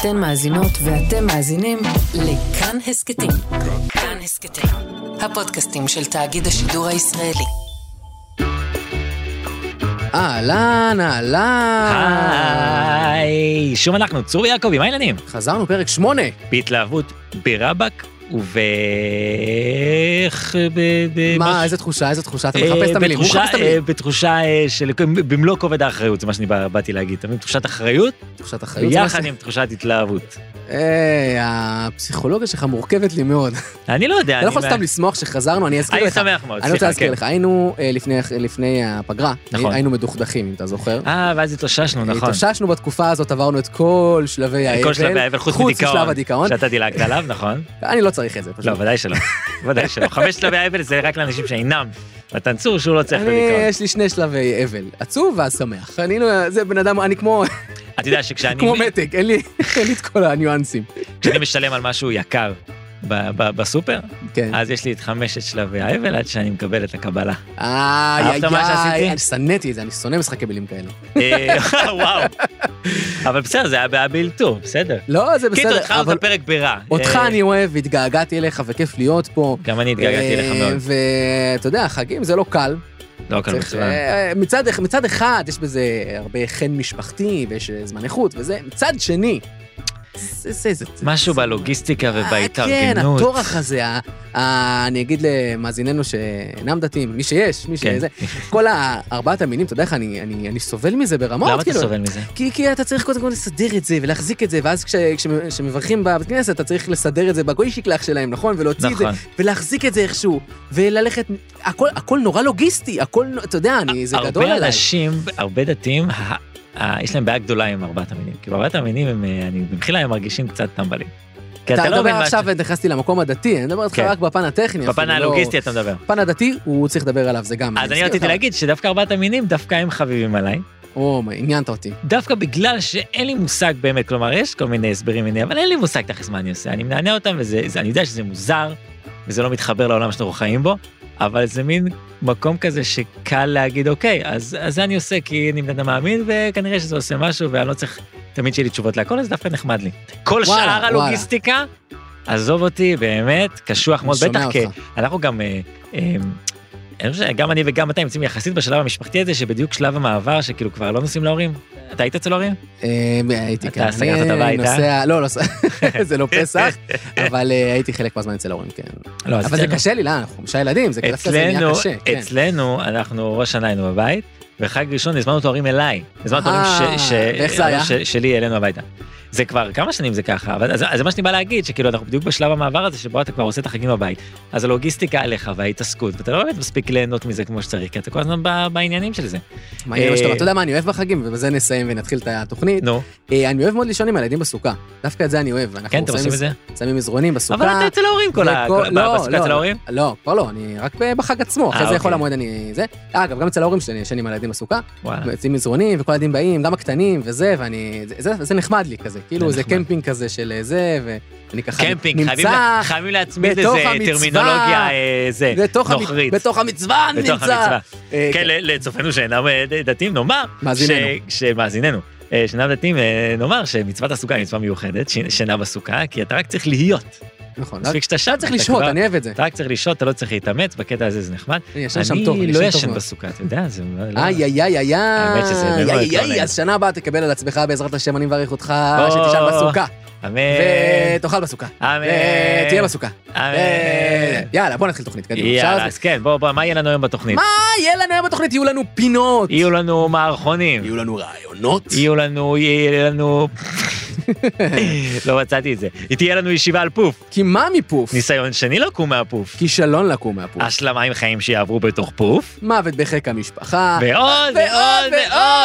אתן מאזינות ואתם מאזינים לכאן הסכתים. כאן הסכתים, הפודקאסטים של תאגיד השידור הישראלי. אהלן, אהלן. היי, שוב אנחנו, צור ויעקבי, מה העניינים? חזרנו, פרק שמונה. אה, בהתלהבות, ברבק וב... איך... ב- ב- מה, בש- איזה תחושה, איזה תחושה, אתה אה, מחפש את המילים, הוא בתחושה, מחפש את המילים. אה, בתחושה אה, של... במלוא כובד האחריות, זה מה שאני בא- באתי להגיד, אתה מבין? תחושת אחריות, תחושת אחריות. זה מה אה, יחד עם תחושת התלהבות. ש- היי, הפסיכולוגיה שלך מורכבת לי מאוד. אני לא יודע, אתה לא יכול מה- סתם לשמוח שחזרנו, אני אזכיר אני לך. שמח מאוד, אני רוצה סליחה, להזכיר כן. לך, היינו אה, לפני- לפני הפגרה, נכון. היינו מדוכדכים, אם אתה זוכר. אה, ואז התאוששנו, נכון. התאוששנו בתקופה הזאת, עברנו את כל שלבי האבל. כל שלב האבל, חוץ משלב מדיכאון, הדיכאון. שאתה דילגת עליו, נכון? אני לא צריך את זה, פשוט. לא, ודאי שלא, ודאי שלא. חמש שלבי האבל זה רק לאנשים שאינם. מתן צור שהוא לא צריך את אני, הדיכאון. אה, יש לי שני שלבי אבל, עצוב ואז שמח. אני לא, זה בן אדם, אני כמו אתה יודע שכשאני כמו מתג, אין לי אין לי את כל הניואנסים. כשאני משלם על משהו יקר ב- ב- בסופר, כן. אז יש לי את חמשת שלבי האבל עד שאני מקבל את הקבלה. איי, אהבת מה שעשיתי? אני שנאתי את זה, אני שונא משחקי מילים כאלה. אה, וואו. אבל בסדר, זה היה בעיה באלתור, בסדר. לא, זה קיצור, בסדר, התחלנו אבל את הפרק ברע. אותך אה, אני אוהב, והתגעגעתי אליך, וכיף להיות פה. גם אני התגעגעתי אליך אה, מאוד. ואתה יודע, חגים זה לא קל. לא כל צריך, מצוין. אה, מצד אח- מצד אחד, יש בזה הרבה חן משפחתי, ויש אה, זמן איכות, וזה. מצד שני, זה- זה- זה- זה- משהו זה- בלוגיסטיקה כן, ובהתארגנות. הטורח הזה, ה- ה- אני אגיד למאזיננו שאינם דתיים, מי שיש, מי כן. שזה, כל ה- ארבעת המינים, אתה יודע איך אני- אני אני סובל מזה ברמות, למה אתה כאילו. סובל מזה? כי, כי אתה צריך קודם כל לסדר את זה ולהחזיק את זה, ואז כש- כש- כשמברכים בבית כנסת, אתה צריך לסדר את זה בגוישיקלח שלהם, נכון? ולהוציא את זה, נכון. ולהחזיק את זה איכשהו, וללכת, הכל, הכל נורא לוגיסטי, הכל, אתה יודע, אני, זה גדול הרבה עליי. אנשים, הרבה דתיים, ה- ה- יש להם בעיה גדולה עם ארבעת המינים. כי בארבעת המינים, הם, אה, אני במחילה, הם מרגישים קצת טמבלים. כי אתה אתה לא מדבר מבין מה... עכשיו, נכנסתי למקום הדתי, אני מדבר איתך כן. רק בפן הטכני. בפן אפילו, לא- הלוגיסטי אתה מדבר. הפן הדתי, הוא צריך לדבר עליו, זה גם. אז אני מסכים רציתי לך. להגיד שדווקא ארבעת המינים, דווקא הם חביבים עליי. או, עניינת אותי. דווקא בגלל שאין לי מושג באמת, כלומר, יש כל מיני הסברים מיני, אבל אין לי מושג תכלס מה אני עושה. אני מנענע אותם, ואני יודע שזה מוזר, וזה לא מתחבר לעולם שאנחנו חיים בו, אבל זה מין מקום כזה שקל להגיד, אוקיי, אז, אז זה אני עושה, כי אני בן אדם מאמין, וכנראה שזה עושה משהו, ואני לא צריך תמיד שיהיה לי תשובות להכל, אז דווקא נחמד לי. כל וואלה, שאר וואלה. הלוגיסטיקה, עזוב אותי, באמת, קשוח אני מאוד, שומע בטח אותך. כי אנחנו גם, אה, אה, אני חושב שגם אני וגם אתה נמצאים יחסית בשלב המשפחתי הזה, שבדיוק שלב המעבר, שכאילו כבר לא נוסעים להורים. אתה היית אצל ההורים? אה, הייתי, אתה כן. סגרת את אני הבית, אה? נוסע, לא, לא, זה לא פסח, אבל אה, הייתי חלק מהזמן אצל ההורים, כן. לא, אז אבל זה אצלנו- קשה לי, לא, אנחנו חמישה ילדים, זה דווקא זה נהיה אצלנו, קשה, כן. אצלנו, אנחנו ראש שנה היינו בבית, וחג ראשון הזמנו את ההורים אליי. הזמנו את אה, ההורים ש- ש- ואיך זה היה? ש- שלי אלינו הביתה. זה כבר כמה שנים זה ככה, אבל אז- אז זה מה שאני בא להגיד, שכאילו אנחנו בדיוק בשלב המעבר הזה שבו אתה כבר עושה את החגים בבית. אז הלוגיסטיקה עליך וההתעסקות, ואתה לא באמת מספיק ליהנות מזה כמו שצריך, כי אתה כל הזמן ב- בעניינים של זה. מה יהיה מה שאתה- אה, אתה יודע מה אני אוהב בחגים, ובזה נסיים ונתחיל את התוכנית. נו, אה, אני אוהב מאוד לישון עם הילדים בסוכה, דווקא את זה אני אוהב. אנחנו כן, אתם שמים- עושים את זה? שמים מזרונים אבל בסוכה. אתה אצל ההורים כל ה... וכל- כל- לא, בסוכה לא, אצל ההורים? לא, כבר לא, אני רק בחג עצמו, אחרי אה, זה יכול אוקיי. המועד אני... זה. אגב, גם אצל ההורים שלי אני ישן עם הילדים בסוכה, וואלה. יוצאים אה. מזרונים, וכל הילדים באים, גם הקטנים וזה, ואני... זה- זה זה נחמד לי כזה, כאילו זה זה נחמד. קמפינג כזה של אה, זה, ואני ככה קמפינג, חייבים לה- נמצא, חייבים להצמיד בתוך לזה המצווה. טרמינולוגיה אה, זה, בתוך המצ- נוכרית. בתוך המצווה אני בתוך נמצא. המצווה. אה, כן, ל- לצופינו שאינם אה, ד- דתיים, נאמר, מאזיננו. ש- שמאזיננו, אה, שאינם דתיים, אה, נאמר שמצוות הסוכה היא מצווה מיוחדת, ש- שינה בסוכה, כי אתה רק צריך להיות. נכון, רק כן, מספיק שאתה שם, צריך לשהות, אני אוהב את זה. אתה רק צריך לשהות, אתה לא צריך להתאמץ, בקטע הזה זה נחמד. אני ישן שם טוב, אני לא טוב ישן מאוד. בסוכה, אתה יודע, זה... לא- איי, איי, איי, איי, האמת שזה באמת איי, איי, לא איי, נעים. אז שנה הבאה תקבל על עצמך בעזרת השם, אני מברך אותך, או, אה, שתשאל בסוכה, אמן, ותאכל בסוכה, אמן, ותהיה בסוכה. אמן. ו- יאללה, בוא נתחיל תוכנית, קדימה. אה, יאללה, אפשר? אז כן, בוא, בוא, מה יהיה לנו היום בתוכנית? מה יהיה לנו היום בתוכנית? יהיו לנו פינות. יהיו לנו מערכונים, יהיו לנו רעיונות. יהיו לנו, יהיה לנו... לא מצאתי את זה. תהיה לנו ישיבה על פוף. כי מה מפוף? ניסיון שני לקום מהפוף. כישלון לקום מהפוף. השלמה עם חיים שיעברו בתוך פוף. מוות בחיק המשפחה. ועוד ועוד ועוד.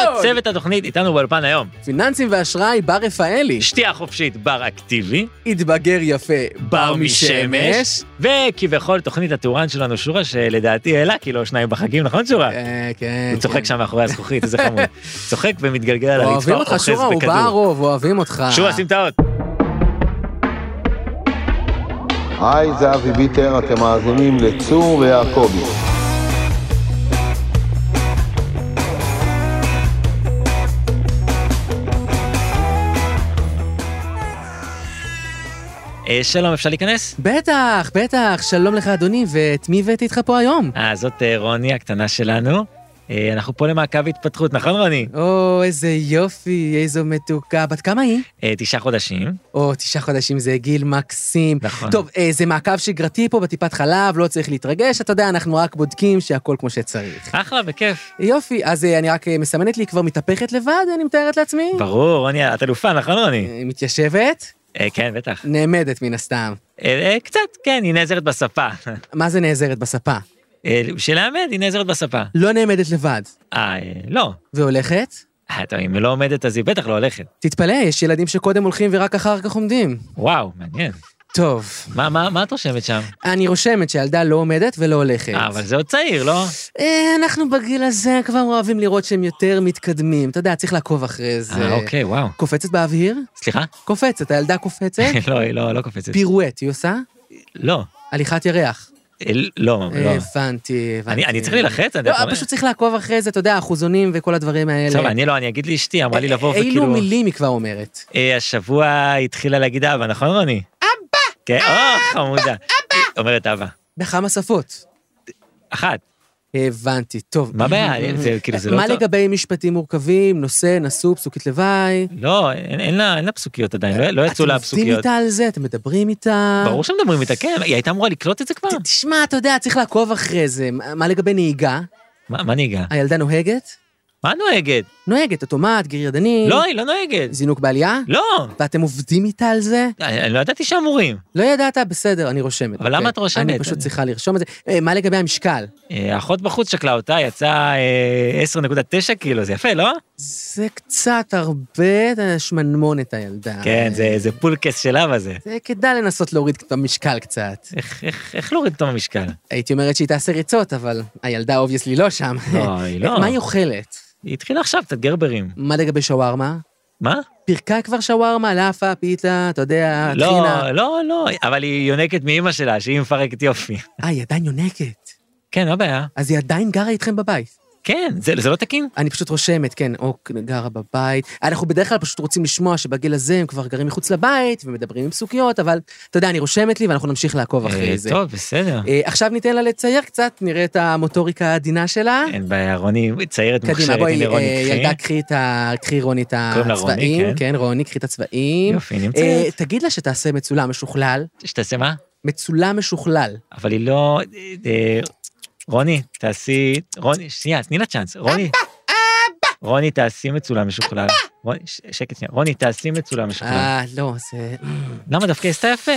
ועוד. צוות התוכנית איתנו באולפן היום. פיננסים ואשראי, בר רפאלי. שתייה חופשית בר אקטיבי. התבגר יפה, בר משמש. וכביכול תוכנית הטורן שלנו שורה שלדעתי העלה כאילו שניים בחגים נכון שורה? אה, כן. הוא צוחק כן. שם מאחורי הזכוכית איזה חמוד. צוחק ומתגלגל על הרצפה אוהבים אותך, אוחז שורה, הוא בכדור. בערוב, אוהבים אותך. שורה שים את האות. היי, זה אבי ביטר, אתם מאזינים לצור ויעקבי. אה, שלום, אפשר להיכנס? בטח, בטח, שלום לך אדוני, ואת מי הבאתי איתך פה היום? אה, זאת אה, רוני הקטנה שלנו. אה, אנחנו פה למעקב התפתחות, נכון רוני? או, איזה יופי, איזו מתוקה. בת כמה היא? אה, תשעה חודשים, או, תשעה חודשים זה גיל מקסים. נכון. טוב, אה, זה מעקב שגרתי פה בטיפת חלב, לא צריך להתרגש, אתה יודע, אנחנו רק בודקים שהכל כמו שצריך. אחלה וכיף. יופי, אז אה, אני רק אה, מסמנת לי, היא כבר מתהפכת לבד, אני מתארת לעצמי? ברור, רוני, את אלופה, נכון רוני? אה, מתיישבת? אה, כן, בטח. נעמדת מן הסתם. אה, אה, קצת, כן, היא נעזרת בספה. מה זה נעזרת בספה? אה, בשביל האמת, היא נעזרת בספה. לא נעמדת לבד. אה, אה, לא. והולכת? אה, טוב, אם היא לא עומדת, אז היא בטח לא הולכת. תתפלא, יש ילדים שקודם הולכים ורק אחר כך עומדים. וואו, מעניין. טוב, מה, מה, מה את רושמת שם? אני רושמת שהילדה לא עומדת ולא הולכת. אה, אבל זה עוד צעיר, לא? אה, אנחנו בגיל הזה כבר אוהבים לראות שהם יותר מתקדמים. אתה יודע, צריך לעקוב אחרי זה. אה, אוקיי, וואו. קופצת באוויר? סליחה? קופצת, הילדה קופצת. לא, היא לא, לא קופצת. פירואט, היא עושה? לא. הליכת ירח. אה, לא, לא. אה, הבנתי, הבנתי. אני- אני צריך להילחץ? אני לא, יכול- פשוט צריך לעקוב אחרי זה, אתה יודע, אחוזונים וכל הדברים האלה. עכשיו, אני לא, אני אגיד לאשתי, אמרה לי לבוא אה, אילו וכאילו... מילים היא כבר אומרת? אה, השבוע היא התחילה להגיד אבא, נכון רוני? אבא! כן, או, חמודה. אבא! אומרת אבא. בכמה שפות. אחת. הבנתי, טוב. מה הבעיה? זה כאילו, זה לא מה טוב. לגבי משפטים מורכבים, נושא, נשוא, פסוקית לוואי? לא, אין אין לה אין לה פסוקיות עדיין, לא- לא יצאו לה אתם עובדים פסוקיות. איתה על זה, אתם מדברים איתה. ברור שמדברים איתה, כן, היא הייתה אמורה לקלוט את זה כבר? ת- תשמע, אתה יודע, צריך לעקוב אחרי זה. מה מה לגבי נהיגה? מה מה נהיגה? הילדה נוהגת? מה נוהגת? נוהגת, אוטומט, גריר ידני. לא, היא לא נוהגת. זינוק בעלייה? לא. ואתם עובדים איתה על זה? אני אני לא ידעתי שאמורים. לא ידעת? בסדר, אני רושמת. אבל למה אוקיי. את רושמת? אני פשוט צריכה לרשום את זה. אה, מה לגבי המשקל? אה, האחות בחוץ שקלה אותה, יצאה אה, 10.9 קילו, זה יפה, לא? אה. זה קצת הרבה אה, שמנמונת הילדה. כן, זה- זה פולקס של אבא זה. זה כדאי לנסות להוריד את המשקל קצת. איך- איך איך להוריד אותו במשקל? הייתי אומרת שהיא תעשה ריצות, אבל הילדה אובייסלי לא שם. לא, היא לא. מה היא אוכלת? היא התחילה עכשיו, קצת גרברים. מה לגבי שווארמה? מה? פירקה כבר שווארמה, לאפה, פיתה, אתה יודע, לא, טחינה. לא, לא, אבל היא יונקת מאימא שלה, שהיא מפרקת יופי. אה, היא עדיין יונקת. כן, מה הבעיה? אז היא עדיין גרה איתכם בבית. כן, זה זה לא תקין? אני פשוט רושמת, כן, או גרה בבית. אנחנו בדרך כלל פשוט רוצים לשמוע שבגיל הזה הם כבר גרים מחוץ לבית ומדברים עם פסוקיות, אבל אתה יודע, אני רושמת לי ואנחנו נמשיך לעקוב אה, אחרי זה. טוב, בסדר. אה, עכשיו ניתן לה לצייר קצת, נראה את המוטוריקה העדינה שלה. אין בעיה, רוני ציירת קדימה, מוכשרת, בואי, אה, הנה רוני כן? אה, קחי. ילדה, קחי את ה... קחי רוני את קוראים לה רוני, הצבעים. כן. כן, רוני, קחי את הצבעים. יופי, אה, נמצאת. תגיד לה שתעשה מצולם משוכלל. שתעשה מה? מצולם משוכלל. אבל היא לא... אה, רוני, תעשי... רוני, שנייה, תני לה צ'אנס. רוני... רוני, תעשי מצולם משוכלל. רוני, ש- שקט שנייה. רוני, תעשי מצולם משוכלל. אה, לא, זה... למה דווקא היא עשתה יפה?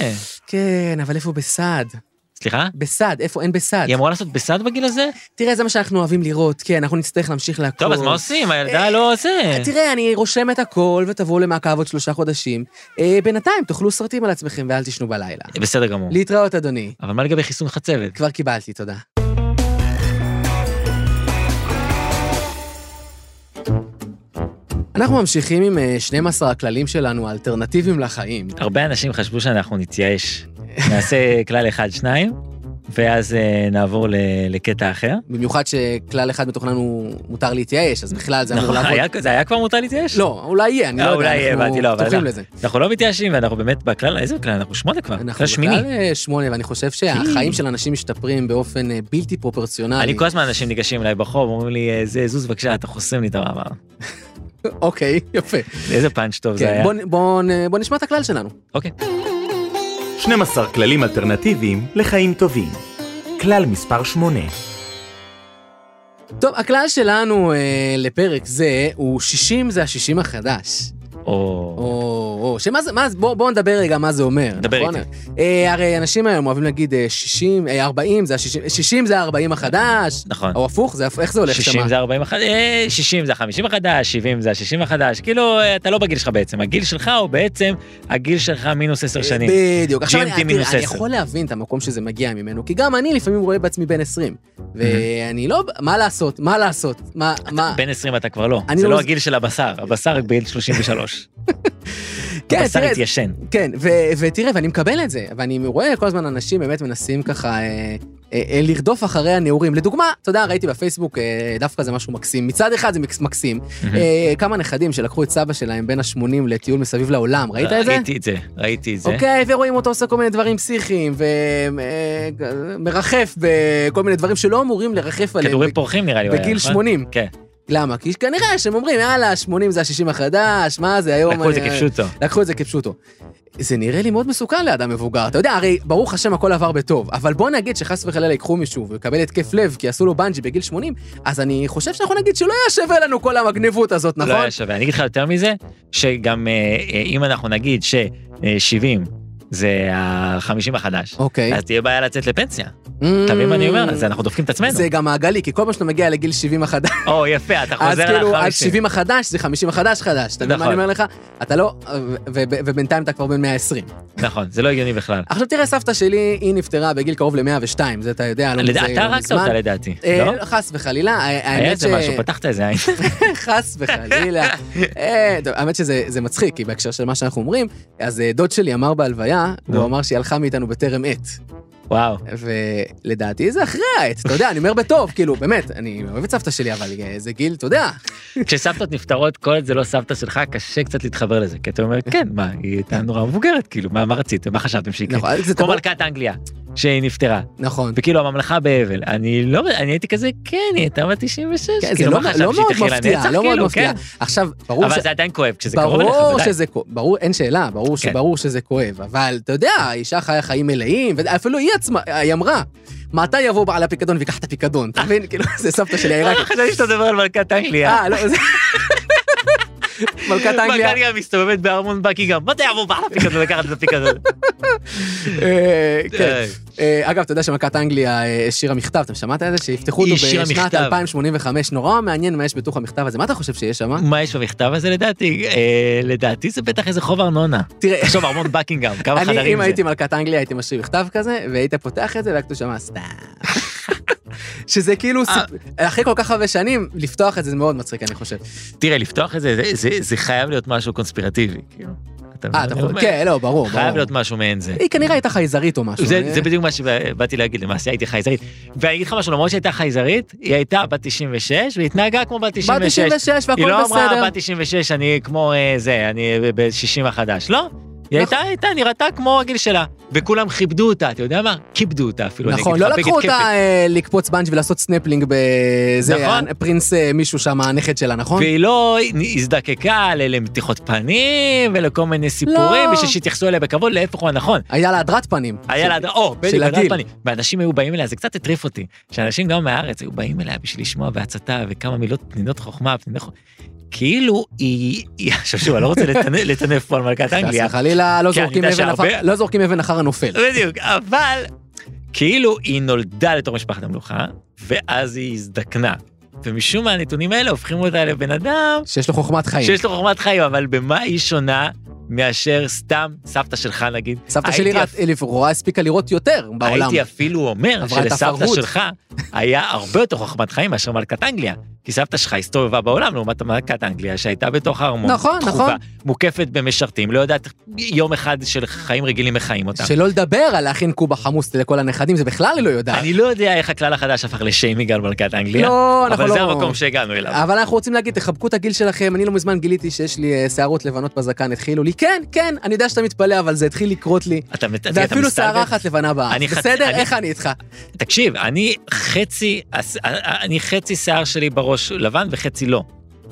כן, אבל איפה בסעד? סליחה? בסעד, איפה אין בסעד? היא אמורה לעשות בסד בגיל הזה? תראה, זה מה שאנחנו אוהבים לראות, כן, אנחנו נצטרך להמשיך לעקוב. טוב, אז מה עושים? הילדה לא עושה. תראה, אני רושם את הכל, ותבואו למעקב עוד שלושה חודשים. אה, בינתיים, תאכלו סרטים על עצמכם ואל תשנו בלילה. בסדר גמור. להתראות, אדוני. אבל מה לגבי חיסון חצבת? כבר קיבלתי, תודה. אנחנו ממשיכים עם אה, 12 הכללים שלנו, האלטרנטיביים לחיים. הרבה אנשים חשבו שאנחנו נתייאש. נעשה כלל אחד, שניים, ואז אה, נעבור ל- לקטע אחר. במיוחד שכלל אחד מתוכנן הוא מותר להתייאש, אז בכלל זה אמור נכון, לעבוד. היה- זה היה כבר מותר להתייאש? לא, אולי יהיה, אני לא אה, יודע, אולי אנחנו הבנתי, לא, אבל פתוחים לא. לזה. אנחנו לא מתייאשים, ואנחנו באמת בכלל, איזה כלל? אנחנו שמונה כבר, אנחנו כלל שמיני. בכלל אה, שמונה, ואני חושב שהחיים של אנשים משתפרים באופן אה, בלתי פרופורציונלי. כן. אני כל הזמן אנשים ניגשים אליי ברחוב, אומרים לי, אה, זה, זוז בבקשה, אתה חוסם לי את הרעבר. אוקיי, יפה. איזה פאנץ' טוב זה כן, היה. בוא נ- בוא נ- בוא נשמע את הכלל שלנו. אוקיי. 12 כללים אלטרנטיביים לחיים טובים. כלל מספר 8. טוב, הכלל שלנו אה, לפרק זה הוא 60 זה ה-60 החדש. או... או, או, שמה זה, מה זה, בוא, בוא נדבר רגע מה זה אומר. דבר נכון? אה, הרי אנשים היום אוהבים להגיד אה, 60, אה, 40 זה ה-60, 60 זה ה-40 החדש. נכון. או הפוך, זה, הפ- איך זה הולך 60 שמה? זה 40 החדש, 60 זה ה-50 החדש, 70 זה ה-60 החדש, כאילו אה, אתה לא בגיל שלך בעצם, הגיל שלך הוא בעצם הגיל שלך מינוס 10 שנים. בדיוק. עכשיו, אני, GMT תראה, מינוס אני 10. יכול להבין את המקום שזה מגיע ממנו, כי גם אני לפעמים רואה בעצמי בן 20. ואני לא, מה לעשות, מה לעשות, מה, מה... בן 20 אתה כבר לא, אני זה לא לא מז- הגיל של הבשר, הבשר רק בגיל 33. כן, הבשר תראה, התיישן. כן, ו- ותראה, ואני מקבל את זה, ואני רואה כל הזמן אנשים באמת מנסים ככה אה, אה, אה, לרדוף אחרי הנעורים. לדוגמה, אתה יודע, ראיתי בפייסבוק אה, דווקא זה משהו מקסים. מצד אחד זה מקס- מקסים. אה, כמה נכדים שלקחו את סבא שלהם בין ה-80 לטיול מסביב לעולם, ראית את זה? ראיתי את זה, ראיתי את זה. אוקיי, ורואים אותו עושה כל מיני דברים פסיכיים, ומרחף בכל מיני דברים שלא אמורים לרחף עליהם. כדורים פורחים נראה לי. הוא היה, אה, בגיל נכון? 80. כן, למה? כי כנראה שהם אומרים, יאללה, 80 זה ה-60 החדש, מה זה היום... לקחו את זה אני- כפשוטו. לקחו את זה כפשוטו. זה נראה לי מאוד מסוכן לאדם מבוגר. אתה יודע, הרי ברוך השם הכל עבר בטוב, אבל בוא נגיד שחס וחלילה ייקחו מישהו ויקבל התקף לב כי עשו לו בנג'י בגיל 80, אז אני חושב שאנחנו נגיד שלא היה שווה לנו כל המגניבות הזאת, לא נכון? היה שווה. אני אגיד לך יותר מזה, שגם אה, אה, אם אנחנו נגיד ש-70 זה ה-50 החדש, אוקיי. Mm. אז תהיה בעיה לצאת לפנסיה. אתה מבין מה אני אומר? אז אנחנו דופקים את עצמנו. זה גם מעגלי, כי כל פעם שאתה מגיע לגיל 70 החדש, או, יפה, אתה אז חוזר כאילו, עד ל-50. 70 החדש זה 50 החדש חדש, אתה מבין מה אני נכון. אומר לך? אתה לא, ו- ו- ובינתיים אתה כבר בן 120. נכון, זה לא הגיוני בכלל. עכשיו תראה, סבתא שלי, היא נפטרה בגיל קרוב ל-102, זה אתה יודע, לא לדע- מזה- אתה לא הרגת מזמן. אותה לדעתי, אה, לא? חס וחלילה, ה- היה האמת ש... איזה משהו, פתחת איזה עין. חס וחלילה. אה, טוב, האמת שזה זה מצחיק, כי בהקשר של מה שאנחנו אומרים, אז אה, דוד שלי אמר בהלוויה, נו. הוא אמר שהיא הלכה מאיתנו בטרם עת. וואו. ולדעתי זה אחרי העת, אתה יודע, אני אומר בטוב, כאילו, באמת, אני אוהב את סבתא שלי, אבל אה, זה גיל, אתה יודע, כן. כשסבתות נפטרות, כל עוד זה לא סבתא שלך, קשה קצת להתחבר לזה. כי אתה אומר, כן, מה, היא הייתה נורא מבוגרת, כאילו, מה מה רציתם, מה חשבתם שיקרה? נכון, זה כמו טבו- מלכת אנגליה, שהיא נפטרה. נכון. וכאילו הממלכה באבל, אני לא, אני הייתי כזה, כן, היא הייתה בת 96, כן, זה כאילו, לא מה לא חשבתי שהיא מאוד תחיה מפתיע, לנצח, לא מאוד כאילו, מפתיע. כן. עכשיו, ברור אבל ש... זה עדיין כואב כשזה קרוב אליך, כן. ברור בוודאי. שזה, כו- ברור, אין שאלה, ברור שברור שזה כואב, אבל אתה יודע, האישה חיה חיים מלאים, ואפילו היא עצמה, היא אמרה, מתי יבוא בעל הפיקדון ויקח את הפיקדון, אתה מבין? כאילו, זה סבתא שלי העיראקית. חשבתי שאתה מדבר לא על מלכת אנגליה. אה, לא, זה... מלכת אנגליה. מלכת אנגליה מסתובבת בארמון בקינגהם, מתי יבוא בעל הפיקדון לקחת את הפיקדון? אה, כן. די. אה, אגב, אתה יודע שמלכת אנגליה אה, השאירה מכתב, אתם שמעת את זה? שיפתחו אותו היא השאירה בשנת מכתב. 2085, נורא מעניין מה יש בתוך המכתב הזה, מה אתה חושב שיש שם? אה? מה יש במכתב הזה לדעתי? אה, לדעתי זה בטח איזה חוב ארנונה. תראה, תחשוב, ארמון בקינגהם, כמה חדרים זה. אני, אם הייתי מלכת אנגליה, הייתי משאיר מכתב כזה, והיית פותח את זה, והכתוב שם סתם. שזה אה. כאילו, סיפ- אחרי כל כך הרבה שנים, לפתוח את זה זה מאוד מצחיק, אני חושב. תראה, לפתוח את זה, זה- זה- זה חייב להיות משהו קונספירטיבי, כאילו. אה, אתה מבין? חושב, כן, לא, ברור, חייב ברור. להיות משהו מעין זה. היא כנראה הייתה חייזרית או משהו. זה, אה, זה בדיוק מה שבאתי להגיד, למעשה הייתי חייזרית. ואני אגיד לך משהו, למרות שהייתה חייזרית, היא הייתה בת 96, והיא התנהגה כמו בת 96. בת 96 היא והכל לא אמרה, בסדר. בת 96, אני כמו אה, זה, אני ב-60 החדש. לא, היא הייתה, נכון. הייתה, נראתה כמו הגיל שלה. וכולם כיבדו אותה, אתה יודע מה? כיבדו אותה אפילו. כאילו, אני נכון, אגיד לא לך, לקחו בגד אותה כיפת. אה, לקפוץ בנג' ולעשות סנפלינג בזה, נכון. פרינס אה, מישהו שם, הנכד שלה, נכון? והיא לא הזדקקה ל- למתיחות פנים ולכל מיני סיפורים, לא. בשביל שיתייחסו אליה בכבוד, להפך הוא הנכון. היה לה הדרת פנים. היה לה, או, של בדיוק, הדרת הגיל. פנים. ואנשים היו באים אליה, זה קצת הטריף אותי, שאנשים גם מהארץ היו באים אליה בשביל לשמוע בהצתה וכמה מילות פנינות חוכמה, פנינות חוכמה. כאילו היא, היא- עכשיו שוב, אני לא רוצה לטנ- לטנף פה על מלכת אנגליה. חס וחלילה, לא כן, אני זורקים יודע אבן שהרבה- אחר- לא זורקים אבן אחר הנופל. בדיוק, אבל כאילו היא נולדה לתור משפחת המלוכה, ואז היא הזדקנה. ומשום מה הנתונים האלה הופכים אותה לבן אדם שיש לו חוכמת חיים. שיש לו חוכמת חיים, אבל במה היא שונה מאשר סתם סבתא שלך נגיד? סבתא הייתי שלי אפ- ראת- לכאורה הספיקה לראות יותר בעולם. הייתי אפילו אומר עברה את שלסבתא הפרהוד. שלך היה הרבה יותר חוכמת חיים מאשר מלכת אנגליה. כי סבתא שלך הסתובבה בעולם לעומת מלכת אנגליה שהייתה בתוך הארמון. נכון, דחופה, נכון. מוקפת במשרתים, לא יודעת יום אחד של חיים רגילים מחיים אותה. שלא לדבר על להכין קובה חמוס לכל הנכדים, זה בכלל היא לא יודעת. אני לא יודע איך הכלל החדש הפך לשיימינג על מלכת אנגליה, לא, אנחנו אבל לא... זה המקום שהגענו אליו. אבל אנחנו רוצים להגיד, תחבקו את הגיל שלכם, אני לא מזמן גיליתי שיש לי אה, שערות לבנות בזקן, התחילו לי, כן, כן, אני יודע שאתה מתפלא, אבל זה התחיל לקרות לי. אתה מת- אתה ואפילו מסתלבט? שערה אחת לבנה באף. אני חצ- בסדר? אני- איך אני איתך? תקשיב, אני חצי, הס- אה, אני חצי שיער שלי בראש לבן וחצי לא.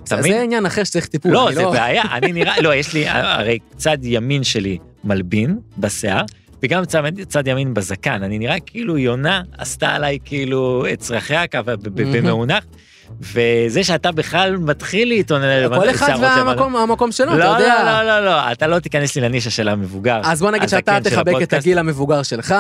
אתה מבין? זה עניין אחר שצריך טיפול. לא, אני זה בעיה, אני נראה, לא, יש לי, הרי צד ימין שלי מלבין בשיער, וגם צד- צד ימין בזקן, אני נראה כאילו יונה עשתה עליי כאילו את צרכיה ככה ב- ב- מהמם. במאונח, וזה שאתה בכלל מתחיל להתעונן על לבנ- כל אחד שערות לבנות. והמקום המקום שלו, לא, אתה לא, יודע. לא, לא, לא, אתה לא תיכנס לי לנישה של המבוגר. אז בוא נגיד הזקן שאתה נכון. של תחבק את הפודקאסט. הגיל המבוגר שלך,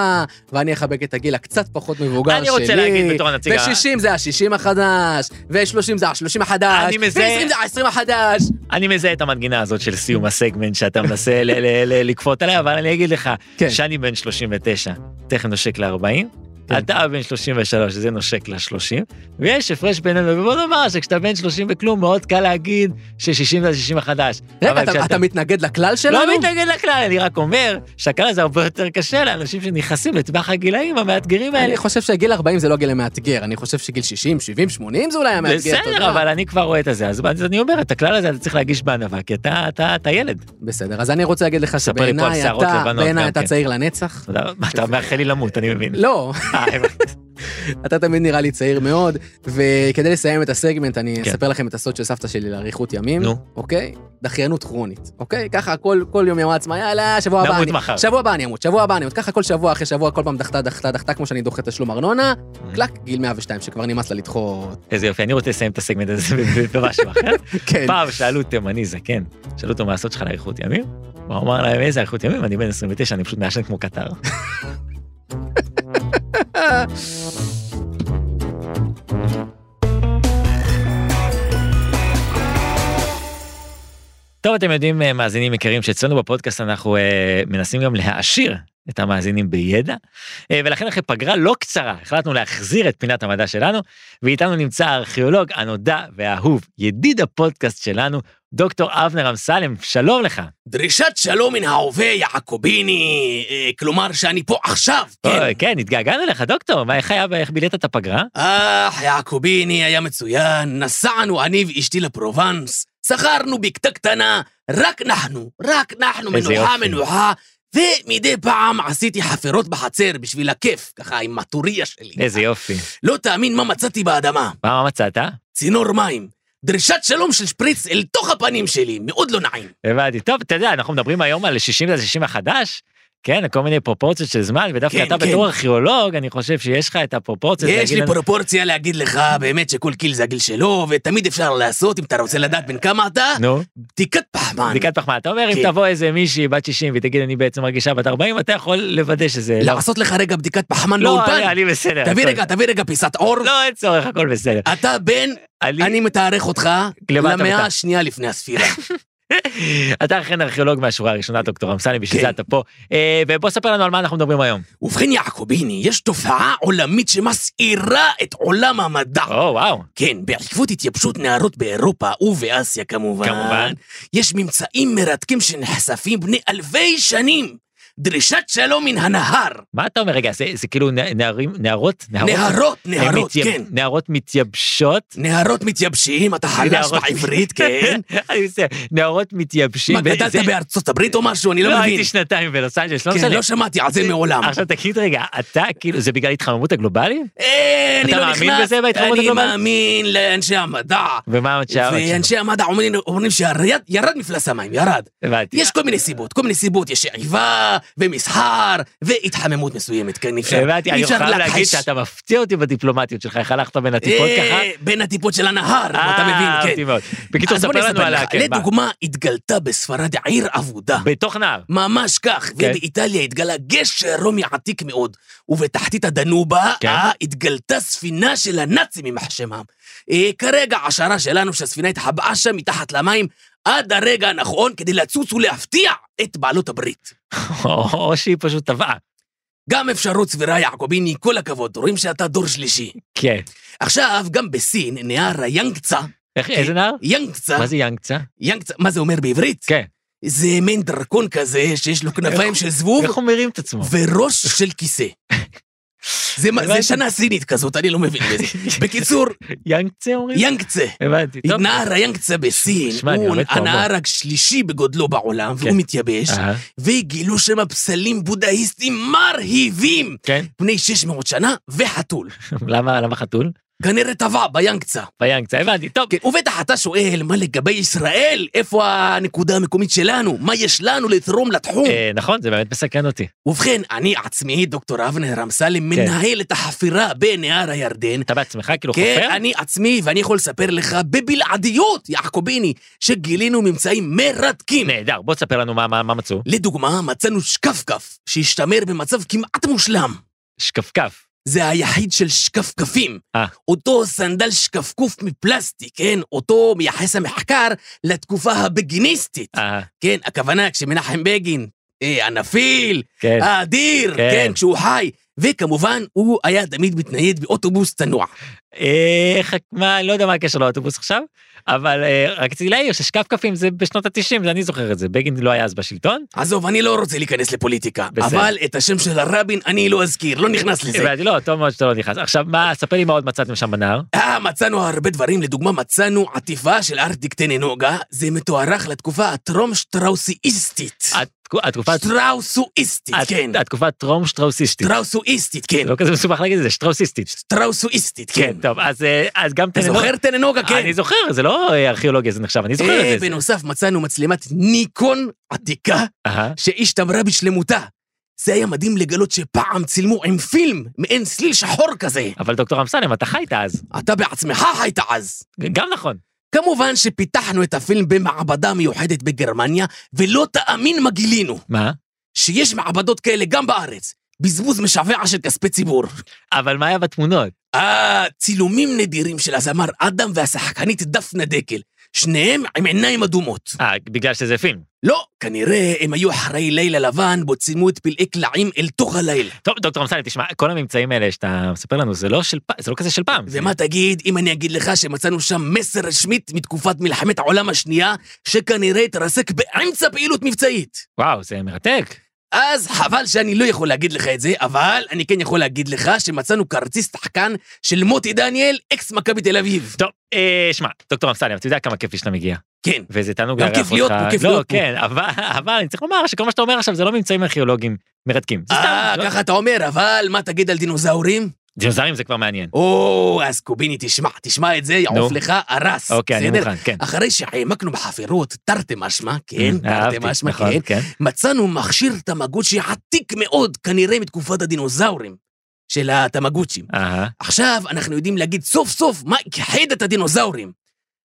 ואני אחבק את הגיל הקצת פחות מבוגר שלי. אני רוצה להגיד בתור הנציג ה- ו-60 זה ה-60 החדש, ו-30 זה ה-30 החדש, אני מזהה- ו-20 זה ה-20 החדש. אני מזהה את המנגינה הזאת של סיום הסגמנט שאתה מנסה ל- ל- ל- לכפות עליה, אבל אני אגיד לך, כן. שאני בן 39, תכף נושק ל-40, כן. אתה בן 33, זה נושק ל-30, ויש הפרש בינינו, ובוא נאמר שכשאתה בן 30 וכלום, מאוד קל להגיד ש-60 זה ה-60 החדש. אבל רגע, אתה- כשאתה- אתה מתנגד לכלל שלנו? לא מתנגד לכלל, אני רק אומר שהכלל הזה הרבה יותר קשה לאנשים שנכנסים לטווח הגילאים המאתגרים האלה. אני חושב שגיל 40 זה לא גיל המאתגר, אני חושב שגיל 60, 70, 80 זה אולי המאתגר, אתה יודע. בסדר, אבל אני כבר רואה את הזה, אז אז אני אומר, את הכלל הזה אתה צריך להגיש בענווה, כי אתה- אתה אתה ילד. בסדר, אז אני רוצה להגיד לך ספר לי פה על שבעיניי שערות אתה, לבנות בעיניי גם אתה כן. צעיר לנצח. אתה יודע, מה, אתה מאחל לי למות, אני מבין. לא, אה, הבנתי. אתה תמיד נראה לי צעיר מאוד, וכדי לסיים את הסגמנט, אני כן. אספר לכם את הסוד של סבתא שלי לאריכות ימים, נו. אוקיי? דחיינות כרונית, אוקיי? ככה כל כל יום היא אמרה לעצמה, יאללה, שבוע הבא נמות אני... מחר." שבוע הבא אני אמות, שבוע הבא אני אמות. ככה כל שבוע אחרי שבוע, כל פעם דחתה, דחתה, דחתה, כמו שאני דוחה תשלום ארנונה, Mm. קלק, גיל 102, שכבר נמאס לה לדחות. איזה יופי, אני רוצה לסיים את הסגמנט הזה במשהו אחר. כן. פעם שאלו תימני זקן, כן. שאלו אותו מה הסוד שלך לאריכות ימים, הוא אמר להם איזה אריכות ימים, אני בן 29, אני פשוט מעשן כמו קטר. טוב, אתם יודעים, אה, מאזינים יקרים, שאצלנו בפודקאסט אנחנו אה, מנסים גם להעשיר את המאזינים בידע, אה, ולכן אחרי פגרה לא קצרה, החלטנו להחזיר את פינת המדע שלנו, ואיתנו נמצא הארכיאולוג הנודע והאהוב, ידיד הפודקאסט שלנו, דוקטור אבנר אמסלם, שלום לך. דרישת שלום מן ההווה, יעקוביני, אה, כלומר שאני פה עכשיו, אוי, כן, התגעגענו לך, דוקטור, מה, איך היה, איך בילית את הפגרה? אה, יעקוביני היה מצוין, נסענו אני ואשתי לפרובנס, שכרנו בקתה קטנה, רק אנחנו, רק אנחנו, איזה מנוחה, יופי. מנוחה, ומדי פעם עשיתי חפירות בחצר בשביל הכיף, ככה עם הטוריה שלי. איזה יופי. לא תאמין מה מצאתי באדמה, מה, מה מצאת? צינור מים, דרישת שלום של שפריץ אל תוך הפנים שלי, מאוד לא נעים. הבנתי. טוב, אתה יודע, אנחנו מדברים היום על 60 זה 60 החדש, כן, כל מיני פרופורציות של זמן, ודווקא כן, אתה כן. בתור ארכיאולוג, אני חושב שיש לך את הפרופורציות. יש להגיד לי לנו- פרופורציה להגיד לך באמת שכל גיל זה הגיל שלו, ותמיד אפשר לעשות, אם אתה רוצה לדעת בן כמה אתה, נו, בדיקת פחמן. בדיקת פחמן. אתה אומר, אם כן. תבוא איזה מישהי בת 60 ותגיד, אני בעצם מרגישה בת 40, אתה יכול לוודא שזה... לא. לעשות לך רגע בדיקת פחמן לא, באולפן. אני- אני בסדר. תביא הכל. רגע, תביא רגע פיסת אור. לא, אין צורך, הכל בסדר. אתה בן, אני- אני מתארך אותך למה אתה למאה מתאר? השנייה לפני הספירה. אתה אכן ארכיאולוג מהשורה הראשונה, דוקטור אמסלם, בשביל כן. אה. זה אתה פה. אה, ובוא ספר לנו על מה אנחנו מדברים היום. ובכן, יעקוביני, יש תופעה עולמית שמסעירה את עולם המדע. או, וואו. כן, בעקבות התייבשות נהרות באירופה ובאסיה כמובן, כמובן. יש ממצאים מרתקים שנחשפים בני אלפי שנים. דרישת שלום מן הנהר. מה אתה אומר? רגע, זה, זה כאילו נ- נערים, נערות? נערות, נהרות, הם נהרות, מתייב- כן. נערות מתייבשות? נהרות מתייבשים, אתה חלש נערות- בעברית, כן? אני מצטער, נערות מתייבשים. מה, וזה- גדלת בארצות הברית או משהו? אני לא, לא מבין. הייתי שנתיים בלוס אנג'לס, לא כן, משנה. לא שמעתי על זה מעולם. עכשיו תגיד רגע, אתה כאילו, זה בגלל התחממות הגלובלית? אה, אני אתה לא נכנס. מאמין בזה בהתחממות אני הגלובלית? מאמין לאנשי המדע. ומה עוד שעה? ואנשי המדע אומרים- אומרים שירד מפלס המים, ירד. הבנתי. יש כל מיני סיבות, כל מיני סיבות, יש שאיבה, ומסחר, והתחממות מסוימת, כן, אי אפשר הבנתי, אי אני אפשר חייב להגיד להכחיש. שאתה מפתיע אותי בדיפלומטיות שלך, איך הלכת בין הטיפות אה, ככה? בין הטיפות של הנהר, אתה אה, מבין, אהבתי כן. מאוד. בקיצור, אז בוא ספר אני לנו אספר על לך. ה... כן, מה? לדוגמה, התגלתה בספרד עיר אבודה. בתוך נהר. ממש כך, כן. ובאיטליה התגלה גשר רומי עתיק מאוד, ובתחתית הדנובה כן. אה, התגלתה ספינה של הנאצים, יימח שמם. אה, כרגע השערה שלנו שהספינה התחבאה שם מתחת למים עד הרגע הנכון כדי לצוץ ולהפתיע את בעלות הברית. או שהיא פשוט טבעה. גם אפשרות סבירה, יעקוביני, כל הכבוד, רואים שאתה דור שלישי. כן. עכשיו, גם בסין, נהר היאנגצה, איך- אה, איזה נהר? יאנגצה, מה זה יאנגצה? יאנגצה, מה זה אומר בעברית? כן. זה מין דרקון כזה שיש לו כנפיים של זבוב. איך הוא מרים את עצמו? וראש של כיסא. זה, מה- זה הבנתי. שנה סינית כזאת, אני לא מבין בזה. בקיצור, יאנגצה אומרים? יאנגצה. הבנתי, טוב. נהר היאנגצה בסין שמע, אני הוא לומד פה הנהר השלישי בגודלו בעולם, והוא כן. מתייבש, אהה, וגילו שם פסלים בודהיסטים מרהיבים, כן, בני 600 שנה וחתול. למה למה חתול? כנראה טבע ביאנגצה. ביאנגצה, הבנתי, טוב. כן, ובטח אתה שואל, מה לגבי ישראל? איפה הנקודה המקומית שלנו? מה יש לנו לתרום לתחום? אה, נכון, זה באמת מסקרן אותי. ובכן, אני עצמי, דוקטור אבנר כן. אמסלם, מנהל את החפירה בנהר הירדן, אתה בעצמך כאילו כן, חופר? אני עצמי, ואני יכול לספר לך בבלעדיות, יעקוביני, שגילינו ממצאים מרתקים. נהדר, בוא תספר לנו מה- מה מה מצאו. לדוגמה, מצאנו שקפקף שהשתמר במצב כמעט מושלם. שקפקף. זה היחיד של שקפקפים. אה. אותו סנדל שקפקוף מפלסטיק, כן? אותו מייחס המחקר לתקופה הבגיניסטית. אהה, כן, הכוונה כשמנחם בגין, אה, הנפיל, כן, האדיר, כן. כן, כשהוא חי, וכמובן, הוא היה תמיד מתנייד באוטובוס צנוע. אה, איך, מה, לא יודע מה הקשר לאוטובוס עכשיו, אבל אה, רציתי להעיר ששקפקפים זה בשנות ה-90, אני זוכר את זה, בגין לא היה אז בשלטון, עזוב, אני לא רוצה להיכנס לפוליטיקה, בסדר. אבל את השם של הרבין אני לא אזכיר, לא נכנס לזה. ואני לא, טוב מאוד שאתה לא נכנס. עכשיו, מה, ספר לי מה עוד מצאתם שם בנהר. אה, מצאנו הרבה דברים, לדוגמה מצאנו עטיפה של ארטיק טננוגה, זה מתוארך לתקופה הטרום שטראוסיסטית. התק- התקופה... שטראוסואיסטית, הת- כן. התקופה טרום שטראוסיסטית. שטראוסואיסטית, כן. זה לא כזה מסובך להגיד את זה, שטראוסיסטית. שטראוסואיסטית, כן. כן, טוב, אז אה, אז גם אתה טננוגה- זוכר טננוגה, כן? אני זוכר, זה לא אה, ארכיאולוגיה, זה נחשב, אני זוכר אה, את זה. בנוסף מצאנו מצלמת ניקון עתיקה אהה. שהשתמרה בשלמותה. זה היה מדהים לגלות שפעם צילמו עם פילם, מעין סליל שחור כזה. אבל דוקטור אמסלם, אתה חיית אז. אתה בעצמך היית אז. גם נכון. כמובן שפיתחנו את הפילם במעבדה מיוחדת בגרמניה, ולא תאמין מה גילינו, מה? שיש מעבדות כאלה גם בארץ. בזבוז משווע של כספי ציבור. אבל מה היה בתמונות? אה, צילומים נדירים של הזמר אדם והשחקנית דפנה דקל, שניהם עם עיניים אדומות. אה, בגלל שזה פילם. לא, כנראה הם היו אחרי לילה לבן, בו צילמו את פלאי קלעים אל תוך הלילה. טוב, דוקטור אמסלם, תשמע, כל הממצאים האלה שאתה מספר לנו, זה לא של פעם, זה לא כזה של פעם. ומה תגיד אם אני אגיד לך שמצאנו שם מסר רשמית מתקופת מלחמת העולם השנייה, שכנראה התרסק באמצע פעילות מבצעית. וואו, זה מרתק. אז חבל שאני לא יכול להגיד לך את זה, אבל אני כן יכול להגיד לך שמצאנו כרטיס שחקן של מוטי דניאל, אקס מכבי תל אביב. טוב, אה, שמע, דוקטור אמסלם, אתה יודע כמה כיף לי שאתה מגיע. כן. וזה תענוג גם לארח אותך. כיף להיות פה, כיף לא, להיות פה. כן, אבל, אבל אני צריך לומר שכל מה שאתה אומר עכשיו זה לא ממצאים ארכיאולוגיים מרתקים. זה אה, סתם, לא- ככה אתה אומר, אבל מה תגיד על דינוזאורים? דינוזאורים זה כבר מעניין. או, אז קוביני, תשמע, תשמע את זה, יעוף נו. לך הרס. אוקיי, אני בסדר? מוכן, כן. אחרי שהעמקנו בחפירות, תרתי משמע, אה, כן, תרתי אהבתי, משמע, נכון, כן, כן. מצאנו מכשיר תמגוצ'י עתיק מאוד, כנראה מתקופת הדינוזאורים, של התמגוצ'ים. אהה. עכשיו אנחנו יודעים להגיד סוף סוף מה הכחיד את הדינוזאורים.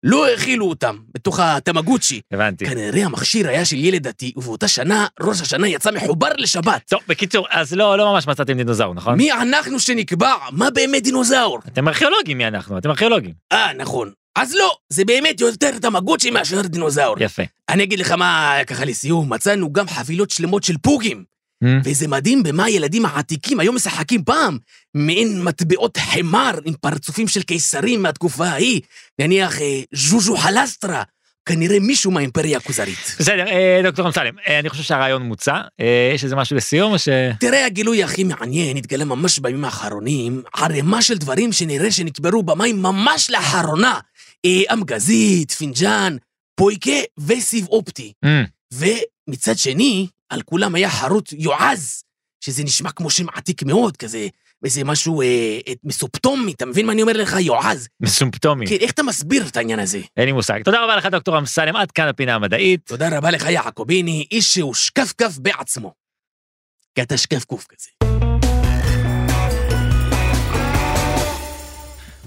לא האכילו אותם בתוך התמגוצ'י. הבנתי. כנראה המכשיר היה של ילד דתי, ובאותה שנה ראש השנה יצא מחובר לשבת. טוב, בקיצור, אז לא, לא ממש מצאתם דינוזאור, נכון? מי אנחנו שנקבע מה באמת דינוזאור? אתם ארכיאולוגים, מי אנחנו? אתם ארכיאולוגים. אה, נכון. אז לא, זה באמת יותר תמגוצ'י מאשר דינוזאור. יפה. אני אגיד לך מה, ככה לסיום, מצאנו גם חבילות שלמות של פוגים. Hmm. וזה מדהים במה הילדים העתיקים היו משחקים פעם. מעין מטבעות חמר עם פרצופים של קיסרים מהתקופה ההיא. נניח אה, ז'וז'ו חלסטרה, כנראה מישהו מהאימפריה הכוזרית. בסדר, אה, דוקטור אמסלם, אה, אני חושב שהרעיון מוצע. אה, יש איזה משהו לסיום או ש... תראה, הגילוי הכי מעניין התגלה ממש בימים האחרונים, ערימה של דברים שנראה שנקברו במים ממש לאחרונה. אה, אמגזית, פינג'אן, פויקה וסיב אופטי. אה, ומצד שני, על כולם היה חרוט יועז, שזה נשמע כמו שם עתיק מאוד, כזה, איזה משהו אה, אה, מסופטומי, אתה מבין מה אני אומר לך? יועז. מסימפטומים. כן, איך אתה מסביר את העניין הזה? אין לי מושג. תודה רבה לך, דוקטור אמסלם, עד כאן הפינה המדעית. תודה רבה לך, יעקוביני, איש שהוא שקפקף בעצמו. כי אתה שקפקוף כזה.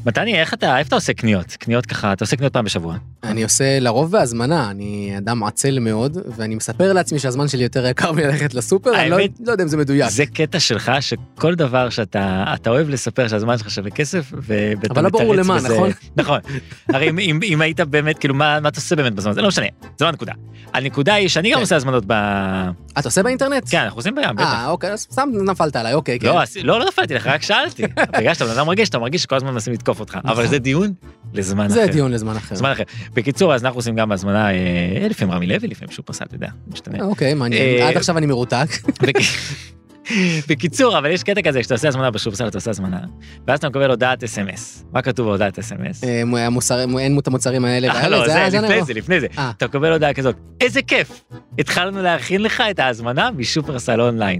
מתני, איך אתה, איפה אתה עושה קניות? קניות ככה, אתה עושה קניות פעם בשבוע. אני עושה לרוב בהזמנה, אני אדם עצל מאוד, ואני מספר לעצמי שהזמן שלי יותר יקר מללכת לסופר, אני לא, האמת- לא יודע אם זה מדויק. זה קטע שלך, שכל דבר שאתה אתה אוהב לספר שהזמן שלך שווה כסף, ואתה אבל לא ברור מתרץ למה, בזה. נכון? נכון. הרי אם- אם אם היית באמת, כאילו, מה מה אתה עושה באמת בזמן הזה? לא משנה, זה לא הנקודה. הנקודה היא שאני גם כן. עושה הזמנות ב... אתה עושה באינטרנט? כן, אנחנו עושים בים, בטח. אה, אוקיי, אז סתם נפלת עליי, אוקיי, כן. לא, עשי- לא, לא נפלתי לך, רק שאלתי. בגלל שאתה בן אדם רגיש, אתה מרגיש שכל הזמן מנסים לתקוף אותך. אבל נכון. זה דיון לזמן אחר. זה דיון לזמן אחר. זמן אחר. בקיצור, אז אנחנו עושים גם בהזמנה, אה, לפעמים רמי לוי, לפעמים שופרסל, אתה יודע, משתנה. אוקיי, מעניין. אה, עד עכשיו אני מרותק. בק- בקיצור, אבל יש קטע כזה, כשאתה עושה הזמנה בשופרסל, אתה עושה הזמנה, ואז אתה מקבל הודעת אס.אם.אס. מה כתוב בהודעת אס.אם.אס? אה, מ- המוסר- מ- אין את המוצרים האלה אה, והאלה, לא, היה- זה היה- לפני זה, לפני זה. אה. אתה מקבל הודעה כזאת, איזה כיף, התחלנו להכין לך את ההזמנה משופרסל אונליין.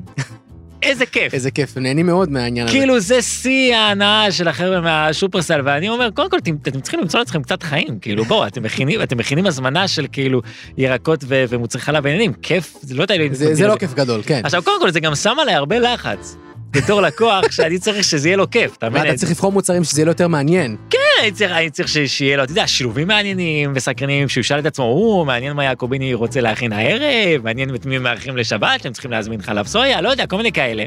איזה כיף. איזה כיף, נהנים מאוד מהעניין הזה. כאילו זה שיא ההנאה של החבר'ה מהשופרסל, ואני אומר, קודם כל, אתם- אתם צריכים למצוא לעצמכם קצת חיים, כאילו, בואו, אתם מכינים, אתם מכינים הזמנה של כאילו ירקות ו- ומוצרי חלב ועניינים, כיף, זה לא יודע לי... זה- זה לא כיף גדול, כן. עכשיו, קודם כל, זה גם שם עליי הרבה לחץ. בתור לקוח, שאני צריך שזה יהיה לו כיף, אתה מבין? ואתה צריך לבחור מוצרים שזה יהיה לו יותר מעניין. אני צריך, אני צריך ש- שיהיה לו, אתה יודע, שילובים מעניינים וסקרנים, שהוא ישאל את עצמו, הוא, מעניין מה יעקוביני רוצה להכין הערב, מעניין את מי מארחים לשבת, שהם צריכים להזמין חלב סויה, לא יודע, כל מיני כאלה.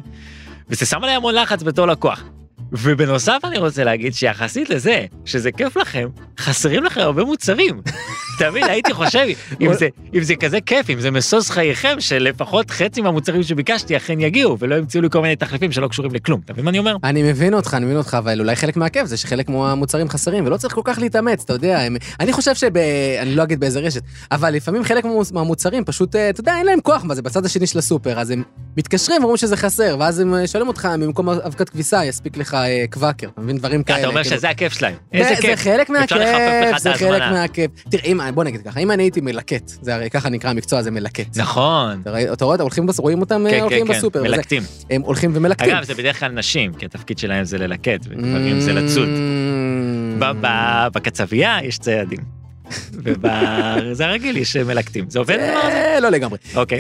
וזה שם עליי המון לחץ בתור לקוח. ובנוסף אני רוצה להגיד שיחסית לזה, שזה כיף לכם, חסרים לכם הרבה מוצרים. אתה מבין, הייתי חושב, אם זה- אם זה כזה כיף, אם זה משוש חייכם, שלפחות חצי מהמוצרים שביקשתי אכן יגיעו, ולא ימצאו לי כל מיני תחליפים שלא קשורים לכלום. אתה מבין מה אני אומר? אני מבין אותך, אני מבין אותך, אבל אולי חלק מהכיף זה שחלק מהמוצרים חסרים, ולא צריך כל כך להתאמץ, אתה יודע, הם... אני חושב שב... אני לא אגיד באיזה רשת, אבל לפעמים חלק מהמוצ- מהמוצרים פשוט, אה, אתה יודע, אין להם כוח, מה זה בצד השני של הסופר, אז הם מתקשרים ואומרים שזה חסר, ואז הם אה, שואלים אותך, במקום אבקת כביסה, יספיק לך אה, קוואקר, אתה מבין? דברים כאלה. אתה אומר כאילו. שזה הכיף שלהם. זה- איזה זה כיף. חלק אפשר לחפף לך מהכיף, את זה חלק ההזמנה. מהכיף. תראה, אם- בוא נגיד ככה, אם אני הייתי מלקט, זה הרי ככה נקרא המקצוע הזה, מלקט. נכון. אתה רואה- אתה רואה, אותם הולכים בס- רואים אותם אה, כן, הולכים כן, כן, בסופר, וזה- מלקטים. הם הולכים ומלקטים. אגב, זה בדרך כלל נשים, כי התפקיד שלהם זה ללקט, וגברים זה לצוד. Mm. ב- ב- בקצבייה יש ציידים. ובזה הרגיל יש מלקטים. זה עובד הדבר הזה? אה, לא לגמרי. אוקיי.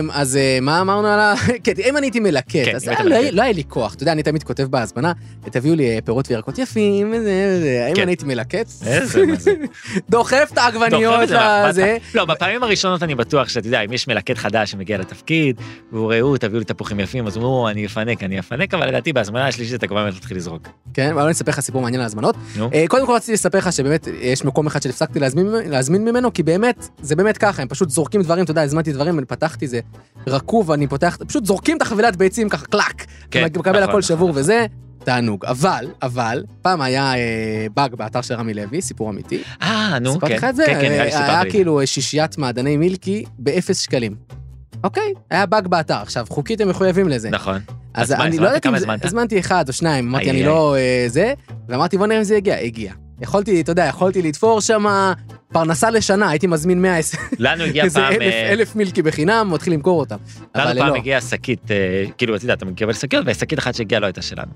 אמ, אז אה, מה אמרנו על ה... כן, אם אני הייתי מלקט, כן, אז אם היית אה, לא מלקט. היה- לא היה לי כוח. אתה יודע, אני תמיד כותב בהזמנה, תביאו לי אה, פירות וירקות יפים, וזה וזה. האם כן. אני הייתי מלקט? איזה מה זה? דוחף את דוחף את העגבניות זה לך, לזה. באת. לא, בפעמים הראשונות אני בטוח שאתה יודע, אם יש מלקט חדש שמגיע לתפקיד, והוא ראו, תביאו לי תפוחים יפים, אז הוא אומר, "או, אני אפנק, אני אפנק, אבל לדעתי בהזמנה השלישית אתה כבר באמת מתחיל לזרוק. כן, אבל אני אספר לך סיפור מעניין על הזמנות. נו. אה, קודם כל רציתי לספר לך שבאמת אה, יש מקום אחד שהפסקתי להזמין ממנו- להזמין ממנו, כי באמת, זה באמת ככה, הם פשוט זורקים דברים, אתה יודע, הזמנתי דברים, אני פתחתי זה רקוב, אני פותח, פשוט זורקים את החבילת ביצים ככה, קלאק. כן, כן, מקבל נכון, הכל נכון, שבור נכון. וזה, תענוג. אבל, אבל, פעם היה אה, באג באתר של רמי לוי, סיפור אמיתי. אה, נו, סיפרתי כן, לך את זה? כן, כן, נראה לי היה סיפרת לי. כאילו שישיית מעדני מילקי באפס שקלים. אוקיי, היה באג באתר. עכשיו, חוקית הם מחויבים לזה. נכון. אז אז מה, אני הזמנת? לא יודעת אם כמה זה... הזמנת? הזמנתי אחד או שניים, אמרתי, איי, אני איי. לא אה, זה, ואמרתי, בוא נראה אם זה יגיע. הגיע. יכולתי, אתה יודע, יכולתי לתפור שם פרנסה לשנה, הייתי מזמין 100, לנו הגיע איזה פעם... אלף, אה, אלף מילקי בחינם, מתחיל למכור אותם. אבל לנו פעם לא. הגיעה שקית, אה, כאילו, אתה יודע, אתה מקבל שקיות, ושקית אחת שהגיעה לא הייתה שלנו.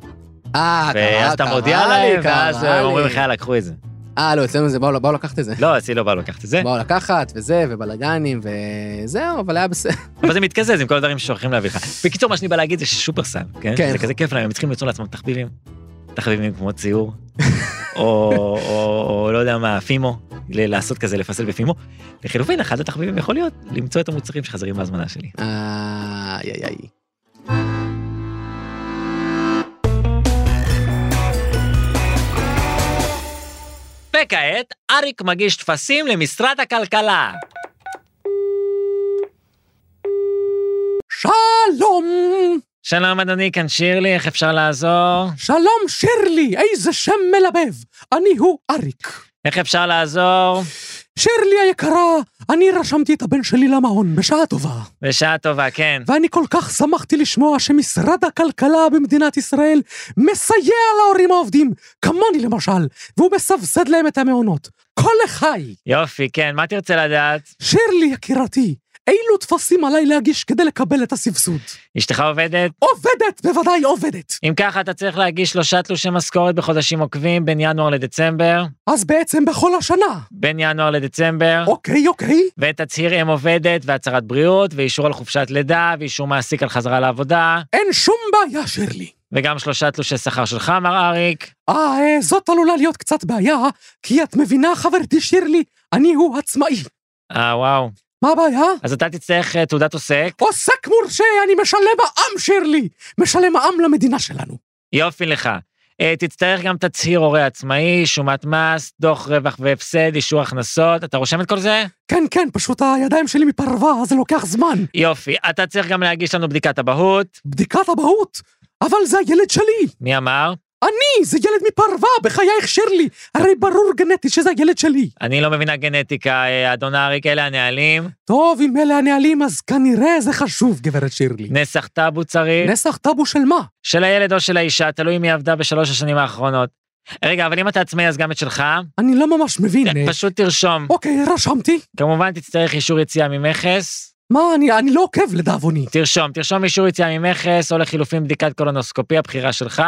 אה, ואז קרה, אתה קרה לי, מודיע להם, ואז קרה הם אומרים לי. לך, לקחו את זה. אה, לא, אצלנו זה באו באו לקחת את זה. לא, אצלי לא בא לקחת את זה. באו לקחת, וזה, ובלאגנים, וזהו, אבל היה בסדר. אבל זה מתקזז עם כל הדברים ששולחים להביא לך. בקיצור, מה שאני בא להגיד זה ששופרסל, כן. כן? זה כזה כיף להם, הם צריכים למצוא לעצמם תחביבים. תחביבים כמו ציור, או או- או לא יודע מה, פימו, ל- לעשות כזה, לפסל בפימו. לחילופין, אחד התחביבים יכול להיות למצוא את המוצרים שחזרים בהזמנה שלי. איי, איי, איי. וכעת, אריק מגיש טפסים למשרד הכלכלה. שלום, שלום אדוני, כאן שירלי, איך אפשר לעזור? שלום שירלי, איזה שם מלבב. אני הוא אריק. איך אפשר לעזור? שירלי היקרה, אני רשמתי את הבן שלי למעון בשעה טובה, בשעה טובה, כן. ואני כל כך שמחתי לשמוע שמשרד הכלכלה במדינת ישראל מסייע להורים העובדים, כמוני למשל, והוא מסבסד להם את המעונות. כל לחי! יופי, כן, מה תרצה לדעת? שירלי יקירתי, אילו טפסים עליי להגיש כדי לקבל את הסבסוד? אשתך עובדת? עובדת, בוודאי עובדת. אם ככה, אתה צריך להגיש שלושה תלושי משכורת בחודשים עוקבים בין ינואר לדצמבר, אז בעצם בכל השנה. בין ינואר לדצמבר, אוקיי, אוקיי. ותצהיר אם עובדת והצהרת בריאות, ואישור על חופשת לידה, ואישור מעסיק על חזרה לעבודה, אין שום בעיה, שירלי. וגם שלושה תלושי שכר שלך, מר אריק. אה, אה, זאת עלולה להיות קצת בעיה, אה? כי את מבינה, חברתי שירלי, אני הוא עצמאי. אה, וואו. מה הבעיה? אז אתה תצטרך אה, תעודת עוסק. עוסק מורשה, אני משלם העם, שירלי! משלם העם למדינה שלנו. יופי לך. אה, תצטרך גם תצהיר הורה עצמאי, שומת מס, דוח רווח והפסד, אישור הכנסות. אתה רושם את כל זה? כן, כן, פשוט הידיים שלי מפרווה, אז זה לוקח זמן. יופי. אתה צריך גם להגיש לנו בדיקת אבהות. בדיקת אבהות. אבל זה הילד שלי! מי אמר? אני, זה ילד מפרווה, בחייך, שירלי! הרי ברור גנטית שזה הילד שלי. אני לא מבינה גנטיקה, אה, אדון אריק, אלה הנהלים. טוב, אם אלה הנהלים, אז כנראה זה חשוב, גברת שירלי. נסח טאבו צריך. נסח טאבו של מה? של הילד או של האישה, תלוי מי עבדה בשלוש השנים האחרונות. רגע, אבל אם אתה עצמאי אז גם את שלך, כן, אני לא ממש מבין. אה, פשוט תרשום. אוקיי, רשמתי. כמובן תצטרך אישור יציאה ממכס, מה, אני- אני לא עוקב לדאבוני. תרשום, תרשום אישור יציאה ממכס, או לחילופין בדיקת קולונוסקופי, הבחירה שלך.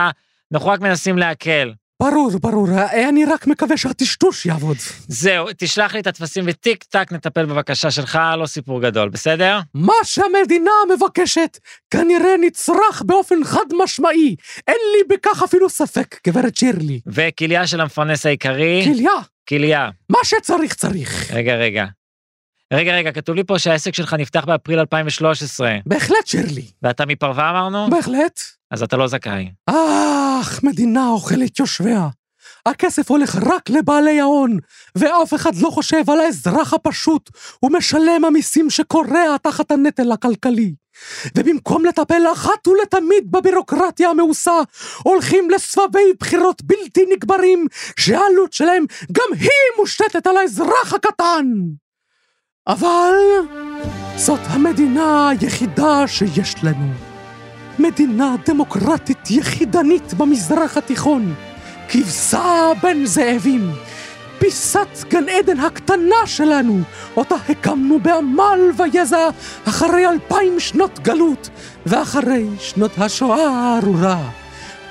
אנחנו רק מנסים להקל. ברור, ברור, אה, אני רק מקווה שהטשטוש יעבוד. זהו, תשלח לי את הטפסים וטיק טק נטפל בבקשה שלך, לא סיפור גדול, בסדר? מה שהמדינה מבקשת כנראה נצרך באופן חד משמעי. אין לי בכך אפילו ספק, גברת שירלי. כן. וכליה של המפרנס העיקרי, כליה, כליה. מה שצריך צריך. רגע, רגע. רגע, רגע, כתוב לי פה שהעסק שלך נפתח באפריל 2013, בהחלט, שירלי. ואתה מפרווה אמרנו? בהחלט. אז אתה לא זכאי. אך, מדינה אוכלת יושביה. הכסף הולך רק לבעלי ההון, ואף אחד לא חושב על האזרח הפשוט ומשלם המיסים שכורע תחת הנטל הכלכלי. ובמקום לטפל אחת ולתמיד בבירוקרטיה המאוסה, הולכים לסבבי בחירות בלתי נגמרים, שהעלות שלהם גם היא מושתתת על האזרח הקטן. אבל זאת המדינה היחידה שיש לנו. מדינה דמוקרטית יחידנית במזרח התיכון. כבשה בין זאבים. פיסת גן עדן הקטנה שלנו, אותה הקמנו בעמל ויזע אחרי אלפיים שנות גלות ואחרי שנות השואה הארורה.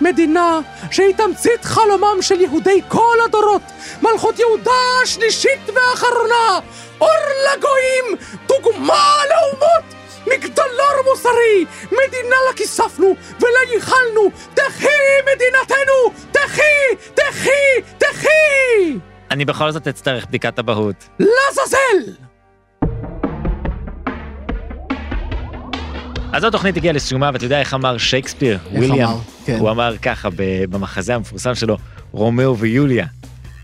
מדינה שהיא תמצית חלומם של יהודי כל הדורות, מלכות יהודה השלישית והאחרונה, אור לגויים, דוגמה לאומות, מגדלור מוסרי, מדינה לה כיספנו ולה ייחלנו, תחי מדינתנו, תחי, תחי, תחי! אני בכל זאת אצטרך בדיקת אבהות. לעזאזל! אז זו תוכנית הגיעה לסיומה, ואתה יודע איך אמר שייקספיר, וויליאם? כן. הוא אמר ככה ב- במחזה המפורסם שלו, רומאו ויוליה,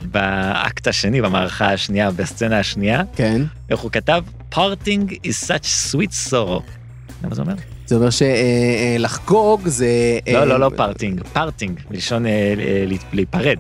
באקט השני, במערכה השנייה, בסצנה השנייה, כן. איך הוא כתב? Parting is such sweet sorrow. אתה יודע מה זה אומר? זה אומר שלחגוג זה... לא, אה, לא, לא פארטינג, פארטינג, מלשון אה, אה, להת- להיפרד.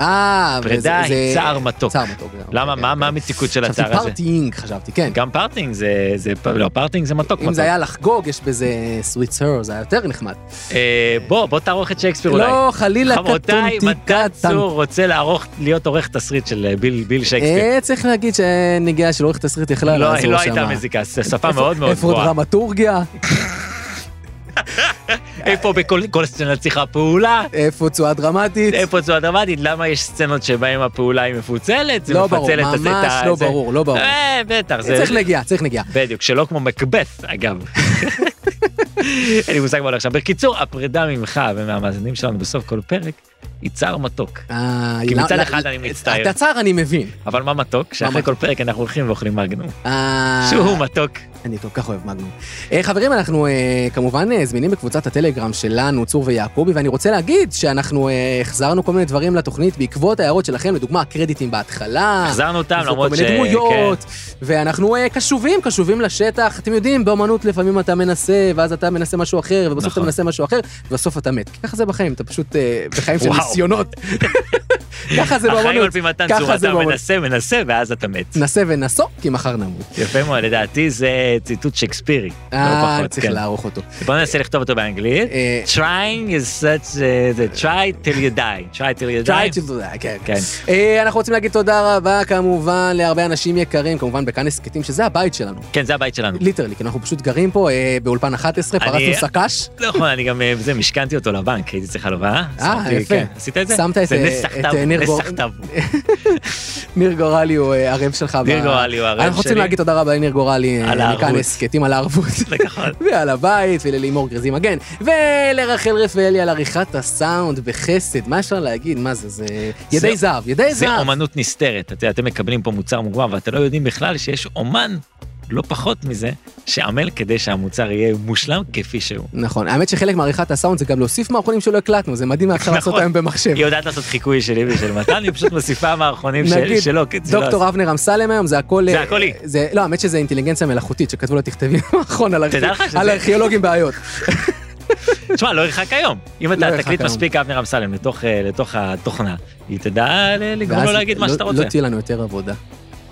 אה, פרידה וזה- היא זה- צער מתוק. צער מתוק. זה- למה, אוקיי, מה אוקיי. מה המתיקות של חשבתי הצער הזה? פארטינג, חשבתי, כן. גם פארטינג זה, זה, פ- לא, פארטינג זה מתוק אם מתוק. זה היה לחגוג, יש בזה סוויט סר, זה היה יותר נחמד. אה, בוא, בוא תערוך את שייקספיר אולי. לא, חלילה חברותיי, מתן קטונטיקה. צור רוצה לערוך, להיות עורך תסריט של אה, ביל, ביל שייקספיר. אה, צריך להגיד שנגיעה של עורך תסריט יכלה לא, לעזור היא שם. לא הייתה מזיקה, זו שפה איפה- מאוד מאוד איפה עוד גבוהה. דרמטורגיה? איפה בכל כל סצנה צריכה פעולה? איפה תשואה דרמטית? איפה זו הדרמטית? למה יש סצנות שבהן הפעולה היא מפוצלת? זה לא מפצל ברור, את הזה, את ממש ה- לא זה- ברור, לא ברור. אה, בטח, זה... צריך נגיעה, צריך נגיעה. בדיוק, שלא כמו מקבץ, אגב. אין לי מושג מה הולך שם. בקיצור, הפרידה ממך ומהמאזינים שלנו בסוף כל פרק היא צער מתוק. אה, כי לא- מצד לא- אחד אני מצטער. את הצער אני מבין. אבל מה מתוק? שאחרי מתוק? כל פרק אנחנו הולכים ואוכלים מגנום. אה, שהוא מתוק. אני כל כך אוהב מגנום. אה, חברים, אנחנו אה, כמובן אה, זמינים בקבוצת הטלגרם שלנו, צור ויעקבי, ואני רוצה להגיד שאנחנו אה, החזרנו כל מיני דברים לתוכנית בעקבות ההערות שלכם, לדוגמה הקרדיטים בהתחלה. החזרנו אותם יש פה למרות ש... כן. כל מיני דמויות, ואנחנו אה, קשובים, קשובים לשטח. אתם יודעים, באמנות לפעמים אתה מנסה, ואז אתה מנסה משהו אחר, ובסוף נכון. אתה מנסה משהו אחר, ובסוף אתה מת. כי ככה זה בחיים, אתה פשוט אה, בחיים של וואו. ניסיונות. ככה זה כן. החיים על באמנות. פי מתן ככה צור, זה לא אתה באמנות. מנסה, מנסה, ואז אתה מת. נסה ונסו, כי מחר נמות. יפה מאוד, לדעתי זה ציטוט שייקספירי. לא אה, פחות, צריך כן. לערוך אותו. בוא ננסה לכתוב אותו באנגלית. אה, trying is such a... זה try till you die. try till you Try to die. do that, כן. כן. אה, אנחנו רוצים להגיד תודה רבה כמובן להרבה אנשים יקרים, כמובן בכאן הסכתים, שזה הבית שלנו, כן, זה הבית שלנו. ליטרלי, כי אנחנו פשוט גרים פה אה, באולפן 11, אני- פרצנו סק"ש. נכון, אני גם, אה, זה, משכנתי אותו לבנק, הייתי צריך הלוואה. אה, שמתי- יפה. כן, עשית את זה? שמת את, זה אה, נס את, סחטב, אה, ניר נס גור- סחטב. ניר גורלי הוא אה, ערב שלך. ב- ניר גורלי הוא ערב אנחנו רוצים שלי. להגיד תודה רבה לניר גורלי, אה, על מכאן הערבות. הסכתים על הערבות. נכון. ועל הבית, וללימור גרזי מגן, ולרחל רפאלי על עריכת הסאונד בחסד, מה אפשר להגיד? מה זה? זה ידי זהב, ידי זה זהב. אומנות נסתרת. אתה יודע, אתם מקבלים פה מוצר מוגמר, ואתם לא יודעים בכלל שיש אומן, לא פחות מזה, שעמל כדי שהמוצר יהיה מושלם כפי שהוא. נכון, האמת שחלק מעריכת הסאונד זה גם להוסיף מערכונים שלא הקלטנו, זה מדהים מה אפשר לעשות נכון. היום במחשב. היא יודעת לעשות חיקוי שלי ושל מתן, היא פשוט מוסיפה מערכונים נגיד, של- שלו. כי זה לא דוקטור אבנר אמסלם היום, זה הכל... זה אה, הכל היא. זה- לא, האמת שזה אינטליגנציה מלאכותית, שכתבו לה תכתבי נכון על תדע לך הארכי- שזה- על הארכיאולוגים בעיות. תשמע, לא ירחק היום. אם לא אתה ירחק תקליט היום. מספיק אבנר אמסלם לתוך, אה, לתוך התוכנה, היא תדע ל- לגרום ואז לו להגיד מה לא- שאתה לא רוצה. תהיה לנו יותר עבודה.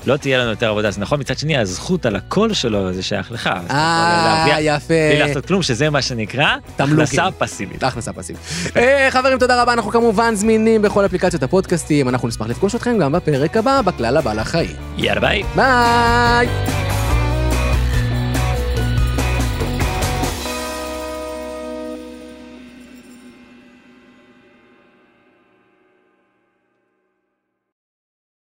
לא תהיה לנו יותר עבודה, זה נכון. מצד שני, הזכות על הקול שלו זה שייך לך. אז אתה יכול אה, להרוויח בלי יפה. לעשות כלום, שזה מה שנקרא תמלוגים. הכנסה פסיבית. הכנסה פסיבית. אה, חברים, תודה רבה, אנחנו כמובן זמינים בכל אפליקציות הפודקאסטים, אנחנו נשמח לפגוש אתכם גם בפרק הבא, בכלל הבא לחיים. יאללה ביי. ביי!